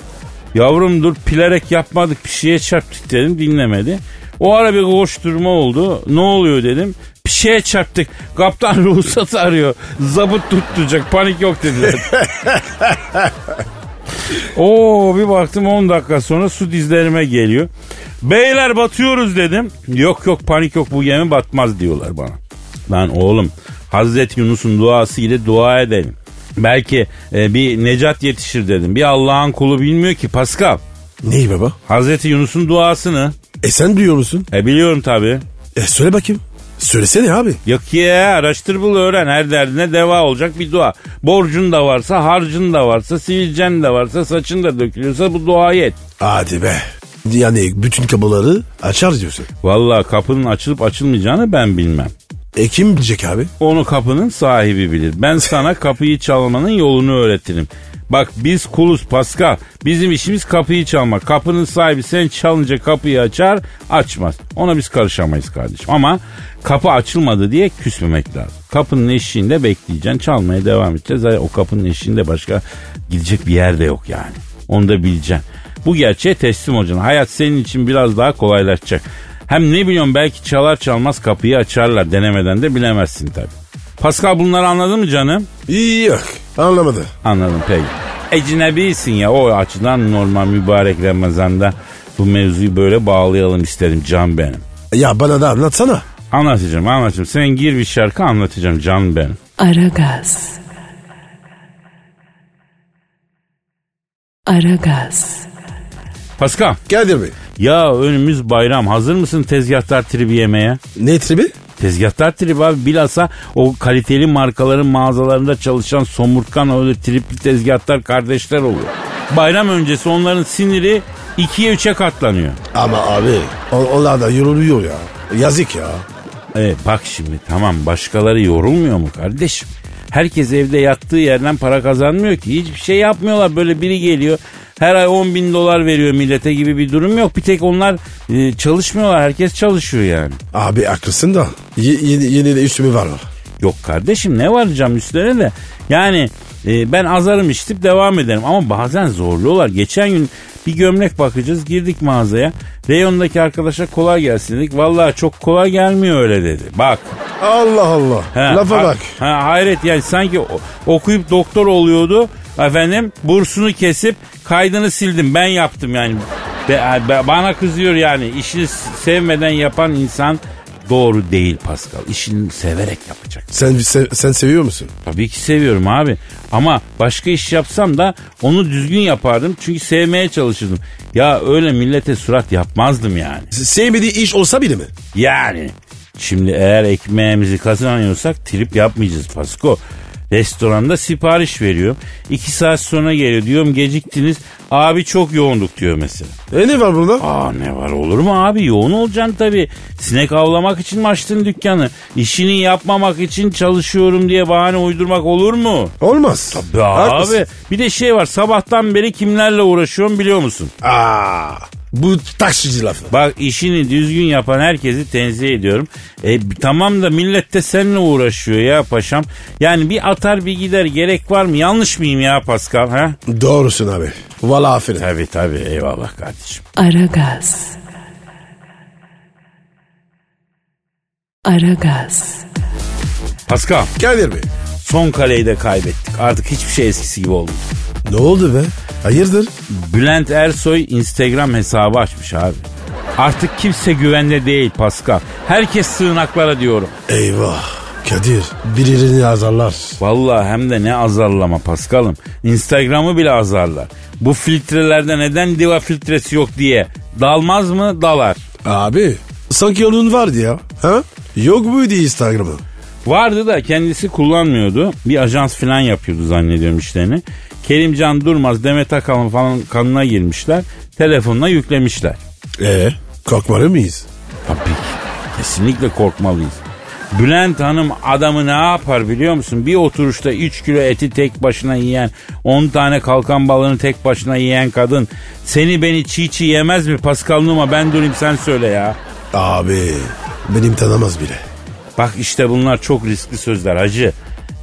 Yavrum dur pilerek yapmadık bir şeye çarptık dedim dinlemedi. O ara bir koşturma oldu. Ne oluyor dedim. Bir şeye çarptık. Kaptan ruhsat arıyor. Zabıt tutturacak. Panik yok dediler. Oo bir baktım 10 dakika sonra su dizlerime geliyor. Beyler batıyoruz dedim. Yok yok panik yok bu gemi batmaz diyorlar bana. Lan oğlum Hazreti Yunus'un duası ile dua edelim. Belki e, bir necat yetişir dedim. Bir Allah'ın kulu bilmiyor ki Pascal. Neyi baba? Hazreti Yunus'un duasını. E sen duyuyor musun? E biliyorum tabii. E söyle bakayım. Söylesene abi. Yok ya araştır bul öğren her derdine deva olacak bir dua. Borcun da varsa harcın da varsa sivilcen de varsa saçın da dökülüyorsa bu duayı et. Hadi be. Yani bütün kapıları açar diyorsun. Valla kapının açılıp açılmayacağını ben bilmem. E kim bilecek abi? Onu kapının sahibi bilir. Ben sana kapıyı çalmanın yolunu öğretirim. Bak biz kuluz Pascal. Bizim işimiz kapıyı çalmak. Kapının sahibi sen çalınca kapıyı açar açmaz. Ona biz karışamayız kardeşim. Ama kapı açılmadı diye küsmemek lazım. Kapının eşiğinde bekleyeceksin. Çalmaya devam edeceğiz. Ay, O kapının eşiğinde başka gidecek bir yer de yok yani. Onu da bileceksin. Bu gerçeğe teslim olacaksın. Hayat senin için biraz daha kolaylaşacak. Hem ne biliyorum belki çalar çalmaz kapıyı açarlar denemeden de bilemezsin tabii. Pascal bunları anladın mı canım? Yok anlamadı. Anladım peki. Ecinebisin ya o açıdan normal mübarek Ramazan'da bu mevzuyu böyle bağlayalım isterim can benim. Ya bana da anlatsana. Anlatacağım anlatacağım. Sen gir bir şarkı anlatacağım canım benim. Aragaz. Aragaz. Pascal. Kadir Bey. Ya önümüz bayram. Hazır mısın tezgahtar tribi yemeye? Ne tribi? Tezgahtar trip abi bilhassa o kaliteli markaların mağazalarında çalışan somurtkan öyle tripli tezgahtar kardeşler oluyor. Bayram öncesi onların siniri ikiye üçe katlanıyor. Ama abi o- onlar da yoruluyor ya. Yazık ya. E, bak şimdi tamam başkaları yorulmuyor mu kardeşim? Herkes evde yattığı yerden para kazanmıyor ki. Hiçbir şey yapmıyorlar. Böyle biri geliyor. Her ay 10 bin dolar veriyor millete gibi bir durum yok. Bir tek onlar e, çalışmıyorlar. Herkes çalışıyor yani. Abi haklısın da ye- yeni, yeni de üstümü var var. Yok kardeşim ne varacağım üstlerine de. Yani e, ben azarım işitip devam ederim ama bazen zorluyorlar. Geçen gün bir gömlek bakacağız girdik mağazaya. Reyondaki arkadaşa kolay gelsin dedik. Vallahi çok kolay gelmiyor öyle dedi. Bak. Allah Allah. He, Lafa ha- bak. Ha, hayret yani sanki o- okuyup doktor oluyordu. Efendim bursunu kesip kaydını sildim ben yaptım yani. Be- be- bana kızıyor yani işini s- sevmeden yapan insan doğru değil Pascal. İşini severek yapacak. Sen, sen, sen seviyor musun? Tabii ki seviyorum abi. Ama başka iş yapsam da onu düzgün yapardım. Çünkü sevmeye çalışırdım. Ya öyle millete surat yapmazdım yani. Se- Sevmediği iş olsa bile mi? Yani. Şimdi eğer ekmeğimizi kazanıyorsak trip yapmayacağız Pasko. Restoranda sipariş veriyorum. İki saat sonra geliyor. Diyorum geciktiniz. Abi çok yoğunduk diyor mesela. E ne var burada? Aa ne var olur mu abi yoğun olacaksın tabii. Sinek avlamak için mi açtın dükkanı? İşini yapmamak için çalışıyorum diye bahane uydurmak olur mu? Olmaz. Be abi Haklısın. bir de şey var sabahtan beri kimlerle uğraşıyorum biliyor musun? Aa, bu taksici lafı. Bak işini düzgün yapan herkesi tenzih ediyorum. E, tamam da millet de seninle uğraşıyor ya paşam. Yani bir atar bir gider gerek var mı? Yanlış mıyım ya Pascal? Ha? Doğrusun abi. Valla aferin. Tabii tabii eyvallah kardeşim. Aragaz. Aragaz. Pascal Kadir Bey. son kaleyi de kaybettik. Artık hiçbir şey eskisi gibi oldu. Ne oldu be? Hayırdır? Bülent Ersoy Instagram hesabı açmış abi. Artık kimse güvende değil Pascal. Herkes sığınaklara diyorum. Eyvah. Kadir birilerini azarlar. Vallahi hem de ne azarlama Paskal'ım. Instagram'ı bile azarlar. Bu filtrelerde neden diva filtresi yok diye. Dalmaz mı? Dalar. Abi sanki onun vardı ya. Ha? Yok muydu Instagram'ı? Vardı da kendisi kullanmıyordu. Bir ajans falan yapıyordu zannediyorum işlerini. Kerimcan Durmaz, Demet Akalın falan kanına girmişler. Telefonla yüklemişler. Ee? Korkmalı mıyız? Tabii ki. Kesinlikle korkmalıyız. Bülent Hanım adamı ne yapar biliyor musun? Bir oturuşta 3 kilo eti tek başına yiyen, 10 tane kalkan balığını tek başına yiyen kadın. Seni beni çiğ çiğ yemez mi Pascal Numa? Ben durayım sen söyle ya. Abi benim tanımaz bile. Bak işte bunlar çok riskli sözler hacı.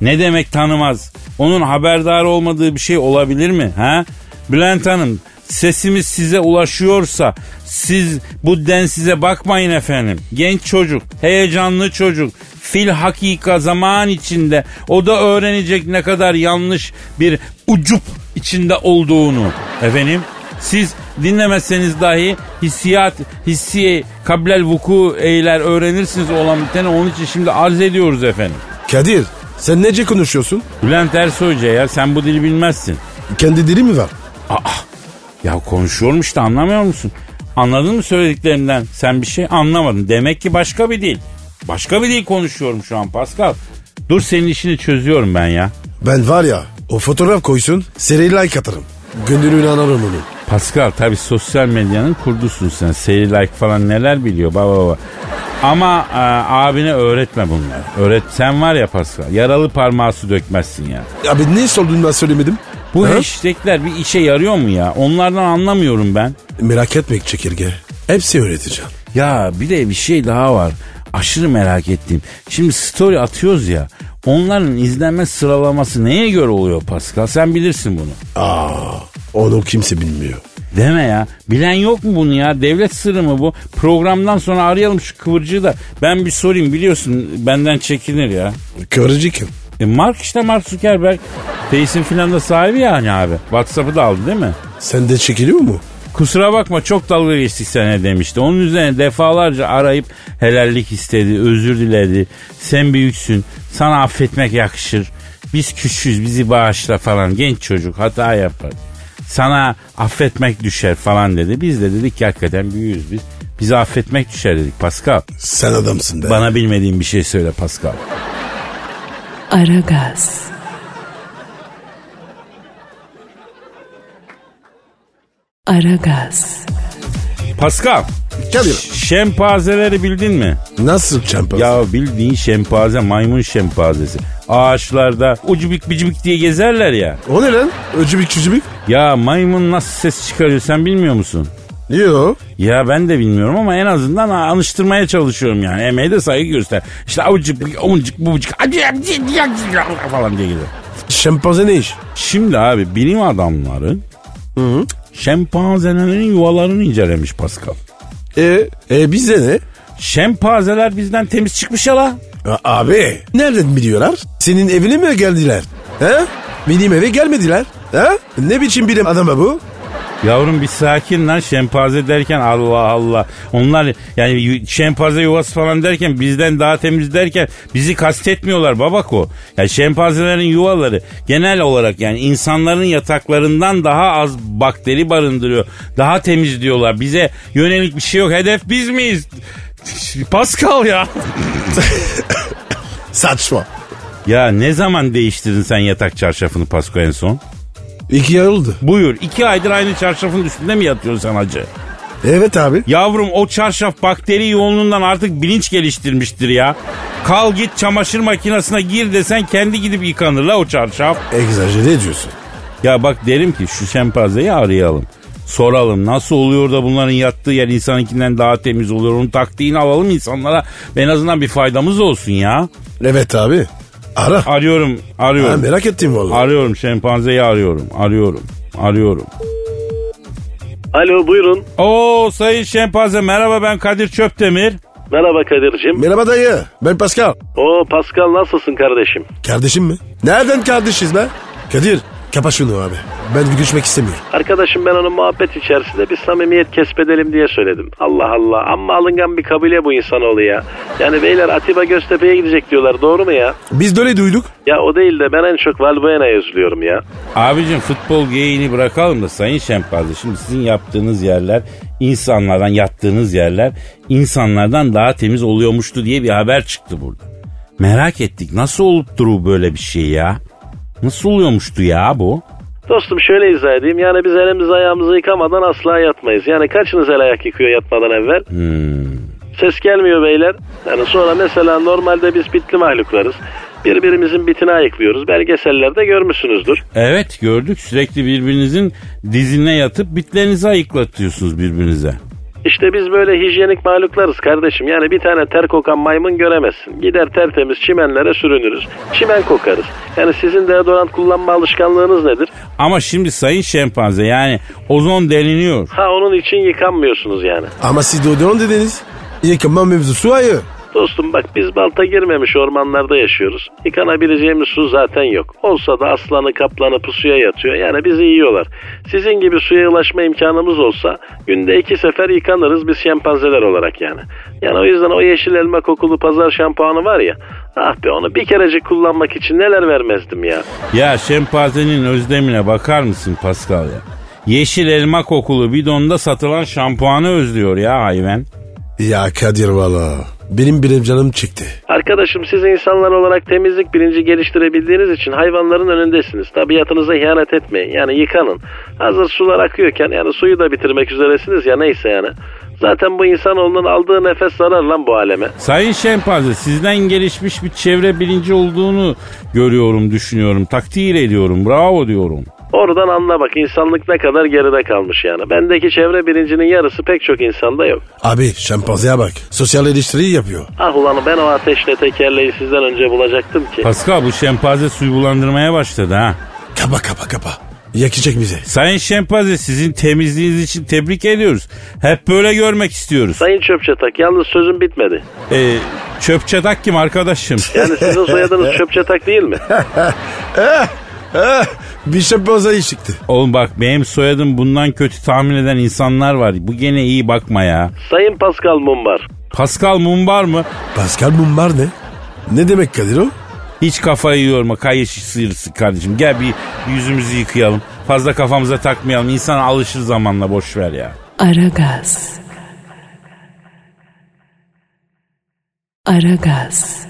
Ne demek tanımaz? Onun haberdar olmadığı bir şey olabilir mi? Ha? Bülent Hanım sesimiz size ulaşıyorsa siz bu den size bakmayın efendim. Genç çocuk, heyecanlı çocuk, fil hakika zaman içinde o da öğrenecek ne kadar yanlış bir ucup içinde olduğunu. Efendim siz dinlemezseniz dahi hissiyat, hissi kablel vuku eyler öğrenirsiniz olan biteni. Onun için şimdi arz ediyoruz efendim. Kadir sen nece konuşuyorsun? Bülent Ersoy Hoca ya sen bu dili bilmezsin. Kendi dili mi var? Ya konuşuyormuş da anlamıyor musun? Anladın mı söylediklerimden? Sen bir şey anlamadın. Demek ki başka bir dil. Başka bir dil konuşuyorum şu an Pascal. Dur senin işini çözüyorum ben ya. Ben var ya o fotoğraf koysun seri like atarım. Gönlünü anarım onu. Pascal tabi sosyal medyanın kurdusun sen. Seri like falan neler biliyor baba baba. Ama e, abine öğretme bunları. Öğret sen var ya Pascal. Yaralı parmağı su dökmezsin ya. Abi ne sorduğunu ben söylemedim. Bu Ha? hashtagler bir işe yarıyor mu ya? Onlardan anlamıyorum ben. Merak etme çekirge. Hepsi öğreteceğim. Ya bir de bir şey daha var. Aşırı merak ettiğim. Şimdi story atıyoruz ya. Onların izlenme sıralaması neye göre oluyor Pascal? Sen bilirsin bunu. Aa, onu kimse bilmiyor. Deme ya. Bilen yok mu bunu ya? Devlet sırrı mı bu? Programdan sonra arayalım şu kıvırcığı da. Ben bir sorayım biliyorsun benden çekinir ya. Görücü kim? E Mark işte Mark Zuckerberg. Face'in filan da sahibi yani abi. Whatsapp'ı da aldı değil mi? Sen de çekiliyor mu? Kusura bakma çok dalga geçtik sana demişti. Onun üzerine defalarca arayıp helallik istedi, özür diledi. Sen büyüksün, sana affetmek yakışır. Biz küçüğüz, bizi bağışla falan. Genç çocuk hata yapar. Sana affetmek düşer falan dedi. Biz de dedik ki hakikaten büyüğüz biz. Bizi affetmek düşer dedik Pascal. Sen adamsın be. Bana bilmediğin bir şey söyle Pascal. Aragaz. Aragaz. Pascal, Kadir. şempazeleri bildin mi? Nasıl çampiyon? Ya bildiğin şempaze maymun şempazesi. Ağaçlarda ucubik bicubik diye gezerler ya. O ne lan? Öcübük çücübük. Ya maymun nasıl ses çıkarıyor sen bilmiyor musun? Yo. Ya ben de bilmiyorum ama en azından anıştırmaya çalışıyorum yani. Emeğe de saygı göster. İşte avucuk, avucuk, bucuk, falan diye gidiyor. Şempanze ne iş? Şimdi abi bilim adamları şempanzelerin yuvalarını incelemiş Pascal. E, e bizde ne? Şempanzeler bizden temiz çıkmış ya la. A- abi. Nereden biliyorlar? Senin evine mi geldiler? He? Benim eve gelmediler. He? Ne biçim bilim adamı bu? Yavrum bir sakin lan şempanze derken Allah Allah. Onlar yani yu- şempanze yuvası falan derken bizden daha temiz derken bizi kastetmiyorlar babako. Yani şempanzelerin yuvaları genel olarak yani insanların yataklarından daha az bakteri barındırıyor. Daha temiz diyorlar. Bize yönelik bir şey yok. Hedef biz miyiz? Pascal ya. Saçma. Ya ne zaman değiştirdin sen yatak çarşafını Pasko en son? İki yıl oldu. Buyur iki aydır aynı çarşafın üstünde mi yatıyorsun sen hacı? Evet abi. Yavrum o çarşaf bakteri yoğunluğundan artık bilinç geliştirmiştir ya. Kal git çamaşır makinesine gir desen kendi gidip yıkanır la o çarşaf. Egzajere ediyorsun. Ya bak derim ki şu şempanzeyi arayalım. Soralım nasıl oluyor da bunların yattığı yer insanınkinden daha temiz oluyor. Onun taktiğini alalım insanlara. En azından bir faydamız olsun ya. Evet abi. Ara. Arıyorum, Ha, arıyorum. merak ettim vallahi. Arıyorum şempanzeyi arıyorum. Arıyorum. Arıyorum. Alo buyurun. Oo sayın şempanze merhaba ben Kadir Çöptemir. Merhaba Kadir'cim. Merhaba dayı. Ben Pascal. O Pascal nasılsın kardeşim? Kardeşim mi? Nereden kardeşiz be? Kadir kapa şunu abi. Ben görüşmek istemiyorum. Arkadaşım ben onun muhabbet içerisinde bir samimiyet kesbedelim diye söyledim. Allah Allah amma alıngan bir kabile bu insanoğlu ya. Yani beyler Atiba Göztepe'ye gidecek diyorlar doğru mu ya? Biz de öyle duyduk. Ya o değil de ben en çok Valbuena'ya üzülüyorum ya. Abicim futbol geyiğini bırakalım da sayın şempanze. Şimdi sizin yaptığınız yerler insanlardan yattığınız yerler insanlardan daha temiz oluyormuştu diye bir haber çıktı burada. Merak ettik nasıl olup duru böyle bir şey ya? Nasıl oluyormuştu ya bu? Dostum şöyle izah edeyim yani biz elimizi ayağımızı yıkamadan asla yatmayız. Yani kaçınız el ayak yıkıyor yatmadan evvel? Ses gelmiyor beyler. Yani sonra mesela normalde biz bitli mahluklarız. Birbirimizin bitini ayıklıyoruz. Belgesellerde görmüşsünüzdür. Evet gördük sürekli birbirinizin dizine yatıp bitlerinizi ayıklatıyorsunuz birbirinize. İşte biz böyle hijyenik mahluklarız kardeşim. Yani bir tane ter kokan maymun göremezsin. Gider tertemiz çimenlere sürünürüz. Çimen kokarız. Yani sizin deodorant kullanma alışkanlığınız nedir? Ama şimdi sayın şempanze yani ozon deliniyor. Ha onun için yıkanmıyorsunuz yani. Ama siz de odeon dediniz. Yıkama mevzusu hayır. Dostum bak biz balta girmemiş ormanlarda yaşıyoruz. Yıkanabileceğimiz su zaten yok. Olsa da aslanı kaplanı pusuya yatıyor. Yani bizi yiyorlar. Sizin gibi suya ulaşma imkanımız olsa günde iki sefer yıkanırız biz şempanzeler olarak yani. Yani o yüzden o yeşil elma kokulu pazar şampuanı var ya. Ah be onu bir kerecik kullanmak için neler vermezdim ya. Ya şempanzenin özlemine bakar mısın Pascal ya? Yeşil elma kokulu bidonda satılan şampuanı özlüyor ya hayvan. Ya Kadir valla. Benim bilim canım çıktı. Arkadaşım siz insanlar olarak temizlik bilinci geliştirebildiğiniz için hayvanların önündesiniz. Tabiatınıza ihanet etmeyin. Yani yıkanın. Hazır sular akıyorken yani suyu da bitirmek üzeresiniz ya neyse yani. Zaten bu insanoğlunun aldığı nefes zarar lan bu aleme. Sayın şempanze sizden gelişmiş bir çevre bilinci olduğunu görüyorum, düşünüyorum, takdir ediyorum, bravo diyorum. Oradan anla bak insanlık ne kadar geride kalmış yani. Bendeki çevre bilincinin yarısı pek çok insanda yok. Abi şempanzeye bak. Sosyal eleştiri yapıyor. Ah ulan ben o ateşle tekerleği sizden önce bulacaktım ki. Pascal bu şempanze suyu bulandırmaya başladı ha. Kapa kapa kapa. Yakacak bize. Sayın şempanze sizin temizliğiniz için tebrik ediyoruz. Hep böyle görmek istiyoruz. Sayın Çöpçatak yalnız sözüm bitmedi. Ee, çöp çatak kim arkadaşım? Yani sizin soyadınız Çöpçatak değil mi? Eh, Bishop Boza'yı çıktı. Oğlum bak benim soyadım bundan kötü tahmin eden insanlar var. Bu gene iyi bakma ya. Sayın Pascal Mumbar. Pascal Mumbar mı? Pascal Mumbar ne? Ne demek Kadir o? Hiç kafayı yorma kayış sıyırsı kardeşim. Gel bir yüzümüzü yıkayalım. Fazla kafamıza takmayalım. İnsan alışır zamanla boş ver ya. Aragaz. Aragaz.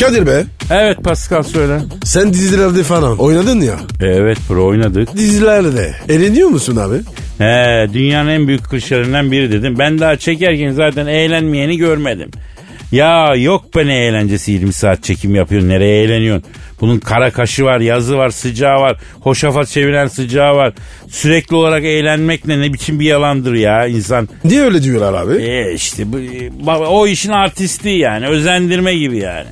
Kadir be Evet Pascal söyle. sen dizilerde falan oynadın ya. Evet bro oynadık. Dizilerde eğleniyor musun abi? He, dünyanın en büyük klişelerinden biri dedim. Ben daha çekerken zaten eğlenmeyeni görmedim. Ya yok be ne eğlencesi 20 saat çekim yapıyorsun nereye eğleniyorsun? Bunun kara kaşı var, yazı var, sıcağı var, hoşafat çeviren sıcağı var. Sürekli olarak eğlenmek ne, ne biçim bir yalandır ya insan. Niye öyle diyorlar abi? E işte bu, baba, o işin artisti yani özendirme gibi yani.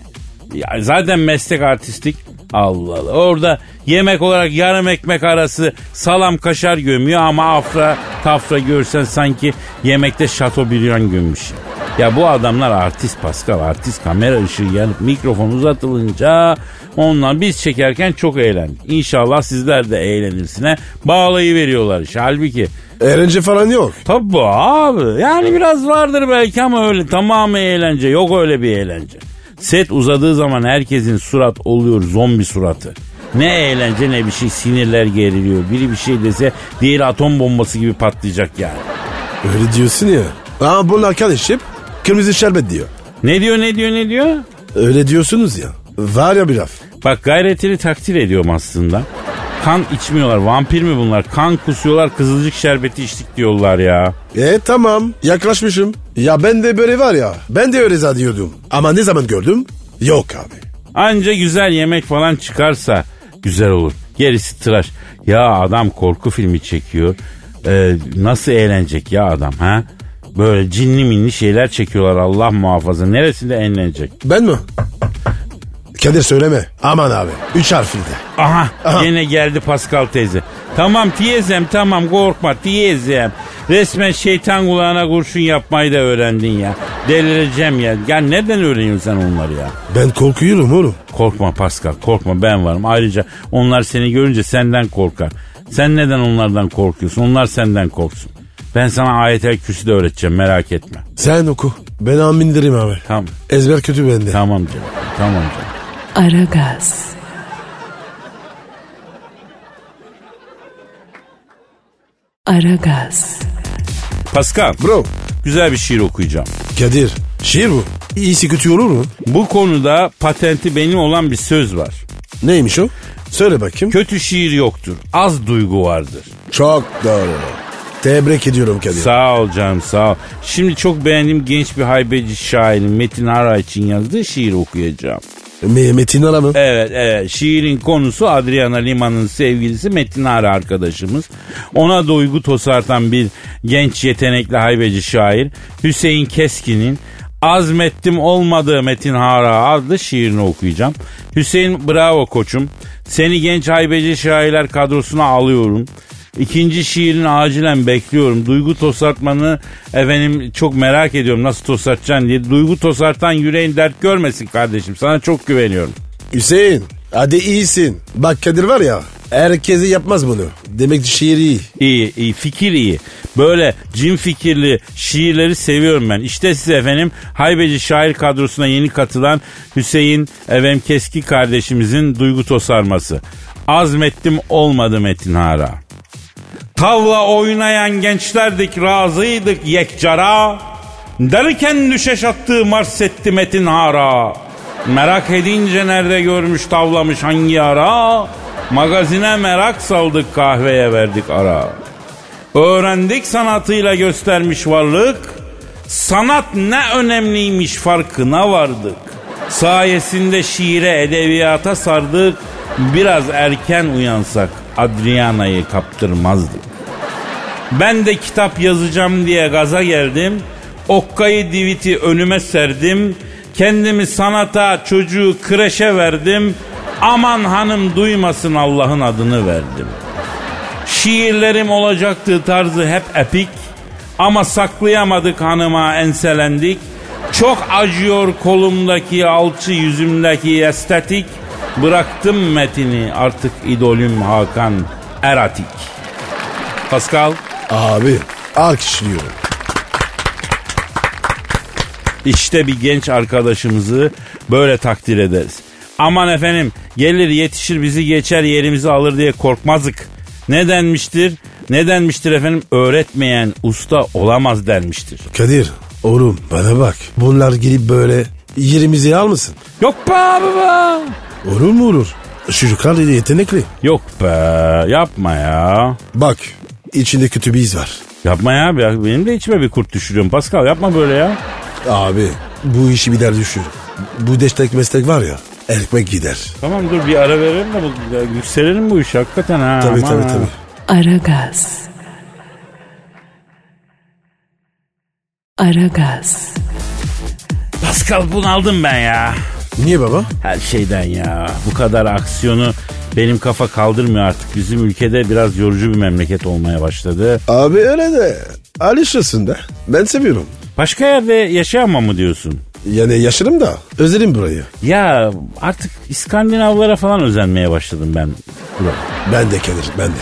Ya zaten meslek artistik. Allah Allah. Orada yemek olarak yarım ekmek arası salam kaşar gömüyor ama afra tafra görsen sanki yemekte şato biryan gömmüş. Ya bu adamlar artist Pascal artist kamera ışığı yanıp mikrofon uzatılınca onlar biz çekerken çok eğlendik. İnşallah sizler de eğlenirsine bağlayıveriyorlar iş. Halbuki Eğlence falan yok. Tabii abi. Yani biraz vardır belki ama öyle tamamı eğlence. Yok öyle bir eğlence. Set uzadığı zaman herkesin surat oluyor zombi suratı. Ne eğlence ne bir şey sinirler geriliyor. Biri bir şey dese diğeri atom bombası gibi patlayacak yani. Öyle diyorsun ya. Aa bunun arkadaşım kırmızı şerbet diyor. Ne diyor ne diyor ne diyor? Öyle diyorsunuz ya. Var ya bir laf. Bak gayretini takdir ediyorum aslında. Kan içmiyorlar vampir mi bunlar? Kan kusuyorlar kızılcık şerbeti içtik diyorlar ya. E tamam yaklaşmışım. Ya ben de böyle var ya ben de öyle zannediyordum. Ama ne zaman gördüm? Yok abi. Anca güzel yemek falan çıkarsa güzel olur. Gerisi tıraş. Ya adam korku filmi çekiyor. Ee, nasıl eğlenecek ya adam ha? Böyle cinli minli şeyler çekiyorlar Allah muhafaza. Neresinde eğlenecek? Ben mi? Kadir söyleme. Aman abi. Üç harfinde. Aha, Aha. yine geldi Pascal teyze. Tamam teyzem tamam korkma teyzem. Resmen şeytan kulağına kurşun yapmayı da öğrendin ya. Delireceğim ya. Ya neden öğreniyorsun sen onları ya? Ben korkuyorum oğlum. Korkma Pascal korkma ben varım. Ayrıca onlar seni görünce senden korkar. Sen neden onlardan korkuyorsun? Onlar senden korksun. Ben sana ayetel kürsü de öğreteceğim merak etme. Sen oku. Ben amindirim abi. Tamam. Ezber kötü bende. Tamam canım. Tamam canım. Aragaz. Aragaz. Pascal Bro. güzel bir şiir okuyacağım. Kadir. Şiir bu. İyisi kötü olur mu? Bu konuda patenti benim olan bir söz var. Neymiş o? Söyle bakayım. Kötü şiir yoktur. Az duygu vardır. Çok doğru. Tebrik ediyorum Kadir. Sağ ol canım sağ ol. Şimdi çok beğendiğim genç bir haybeci şairin Metin Ara için yazdığı şiiri okuyacağım. Me- Metin Ara mı? Evet evet şiirin konusu Adriana Lima'nın sevgilisi Metin Ara arkadaşımız. Ona duygu tosartan bir genç yetenekli haybeci şair Hüseyin Keskin'in Azmettim olmadığı Metin Hara adlı şiirini okuyacağım. Hüseyin bravo koçum. Seni genç haybeci şairler kadrosuna alıyorum. İkinci şiirini acilen bekliyorum. Duygu tosartmanı efendim çok merak ediyorum nasıl tosartacaksın diye. Duygu tosartan yüreğin dert görmesin kardeşim. Sana çok güveniyorum. Hüseyin. Hadi iyisin. Bak Kadir var ya. Herkese yapmaz bunu. Demek ki şiir iyi. İyi, iyi, fikir iyi. Böyle cin fikirli şiirleri seviyorum ben. İşte size efendim Haybeci şair kadrosuna yeni katılan Hüseyin Evem Keski kardeşimizin duygu tosarması. Azmettim olmadı Metin Hara. Tavla oynayan gençlerdik razıydık yekcara. Derken düşeş attığı mars etti Metin Hara. Merak edince nerede görmüş tavlamış hangi ara. Magazine merak saldık kahveye verdik ara. Öğrendik sanatıyla göstermiş varlık. Sanat ne önemliymiş farkına vardık. Sayesinde şiire, edebiyata sardık. Biraz erken uyansak Adriana'yı kaptırmazdık. Ben de kitap yazacağım diye gaza geldim. Okkayı diviti önüme serdim. Kendimi sanata, çocuğu kreşe verdim. Aman hanım duymasın Allah'ın adını verdim. Şiirlerim olacaktı tarzı hep epik. Ama saklayamadık hanıma enselendik. Çok acıyor kolumdaki alçı yüzümdeki estetik. Bıraktım Metin'i artık idolüm Hakan Eratik. Pascal Abi alkışlıyorum. işte bir genç arkadaşımızı böyle takdir ederiz. Aman efendim gelir yetişir bizi geçer yerimizi alır diye korkmazdık. Ne denmiştir? Ne denmiştir efendim? Öğretmeyen usta olamaz denmiştir. Kadir oğlum bana bak. Bunlar gelip böyle yerimizi almasın. Yok be baba. Olur mu olur? Çocuklar da yetenekli. Yok be yapma ya. Bak içinde kötü bir iz var. Yapma ya ya benim de içime bir kurt düşürüyorum Pascal yapma böyle ya. Abi bu işi bir der düşür. Bu destek meslek var ya ekmek gider. Tamam dur bir ara verelim de bu, ya yükselelim bu işi hakikaten ha. Tabii aman tabii ha. tabii. Aragaz. Aragaz. Pascal bunaldım ben ya. Niye baba? Her şeyden ya. Bu kadar aksiyonu benim kafa kaldırmıyor artık. Bizim ülkede biraz yorucu bir memleket olmaya başladı. Abi öyle de alışırsın da. Ben seviyorum. Başka yerde yaşayamam mı diyorsun? Yani yaşarım da özelim burayı. Ya artık İskandinavlara falan özenmeye başladım ben. Burak. Ben de Kadir ben de.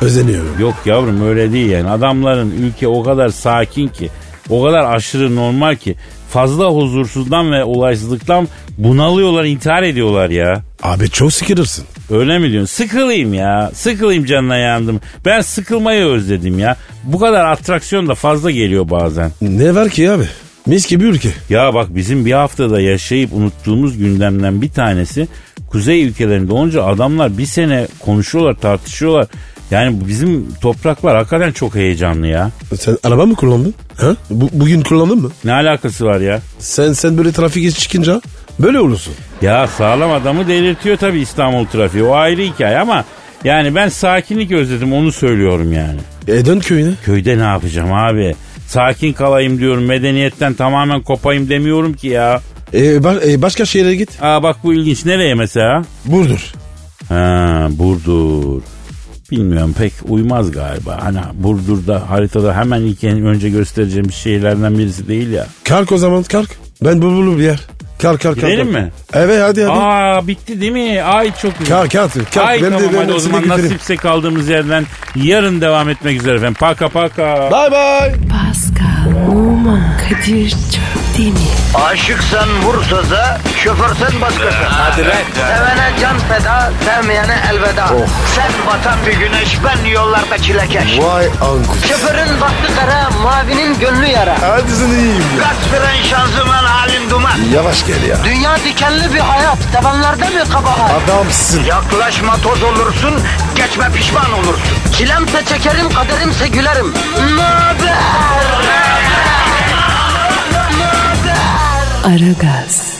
Özeniyorum. Yok yavrum öyle değil yani. Adamların ülke o kadar sakin ki, o kadar aşırı normal ki fazla huzursuzdan ve olaysızlıktan bunalıyorlar, intihar ediyorlar ya. Abi çok sıkılırsın. Öyle mi diyorsun? Sıkılayım ya. Sıkılayım canına yandım. Ben sıkılmayı özledim ya. Bu kadar atraksiyon da fazla geliyor bazen. Ne var ki abi? Mis gibi ülke. Ya bak bizim bir haftada yaşayıp unuttuğumuz gündemden bir tanesi kuzey ülkelerinde olunca adamlar bir sene konuşuyorlar, tartışıyorlar. Yani bizim topraklar hakikaten çok heyecanlı ya. Sen araba mı kullandın? Ha? Bu, bugün kullandın mı? Ne alakası var ya? Sen sen böyle trafik iş çıkınca böyle olursun. Ya sağlam adamı delirtiyor tabii İstanbul trafiği. O ayrı hikaye ama yani ben sakinlik özledim onu söylüyorum yani. E dön köyüne. Köyde ne yapacağım abi? Sakin kalayım diyorum. Medeniyetten tamamen kopayım demiyorum ki ya. E, ba- e, başka şehre git. Aa bak bu ilginç. Nereye mesela? Burdur. Ha Burdur. Bilmiyorum pek uymaz galiba. Hani Burdur'da haritada hemen ilk en- önce göstereceğim şehirlerden birisi değil ya. Kalk o zaman kalk. Ben bulbulu bir yer. Kalk kalk kalk. Gidelim kalk. mi? Evet hadi hadi. Aa bitti değil mi? Ay çok güzel. Kalk kalk kalk. Ay Ben de- tamam ben hadi de o seni zaman götüreyim. nasipse kaldığımız yerden yarın devam etmek üzere efendim. Paka paka. Bye bye. Pascal, Oman, Kadir çok değil mi? Aşıksan vursa da, şoförsen başkasın. Hadi Sevene can feda, sevmeyene elveda. Sen batan bir güneş, ben yollarda çilekeş. Vay anku. Şoförün baktı kara, mavinin gönlü yara. Hadi sen iyiyim ya. Kasperen şanzıman halin duman. Yavaş gel ya. Dünya dikenli bir hayat, sevenlerde mi kabahar? Adamsın. Yaklaşma toz olursun, geçme pişman olursun. Çilemse çekerim, kaderimse gülerim. Möber! Aragaz.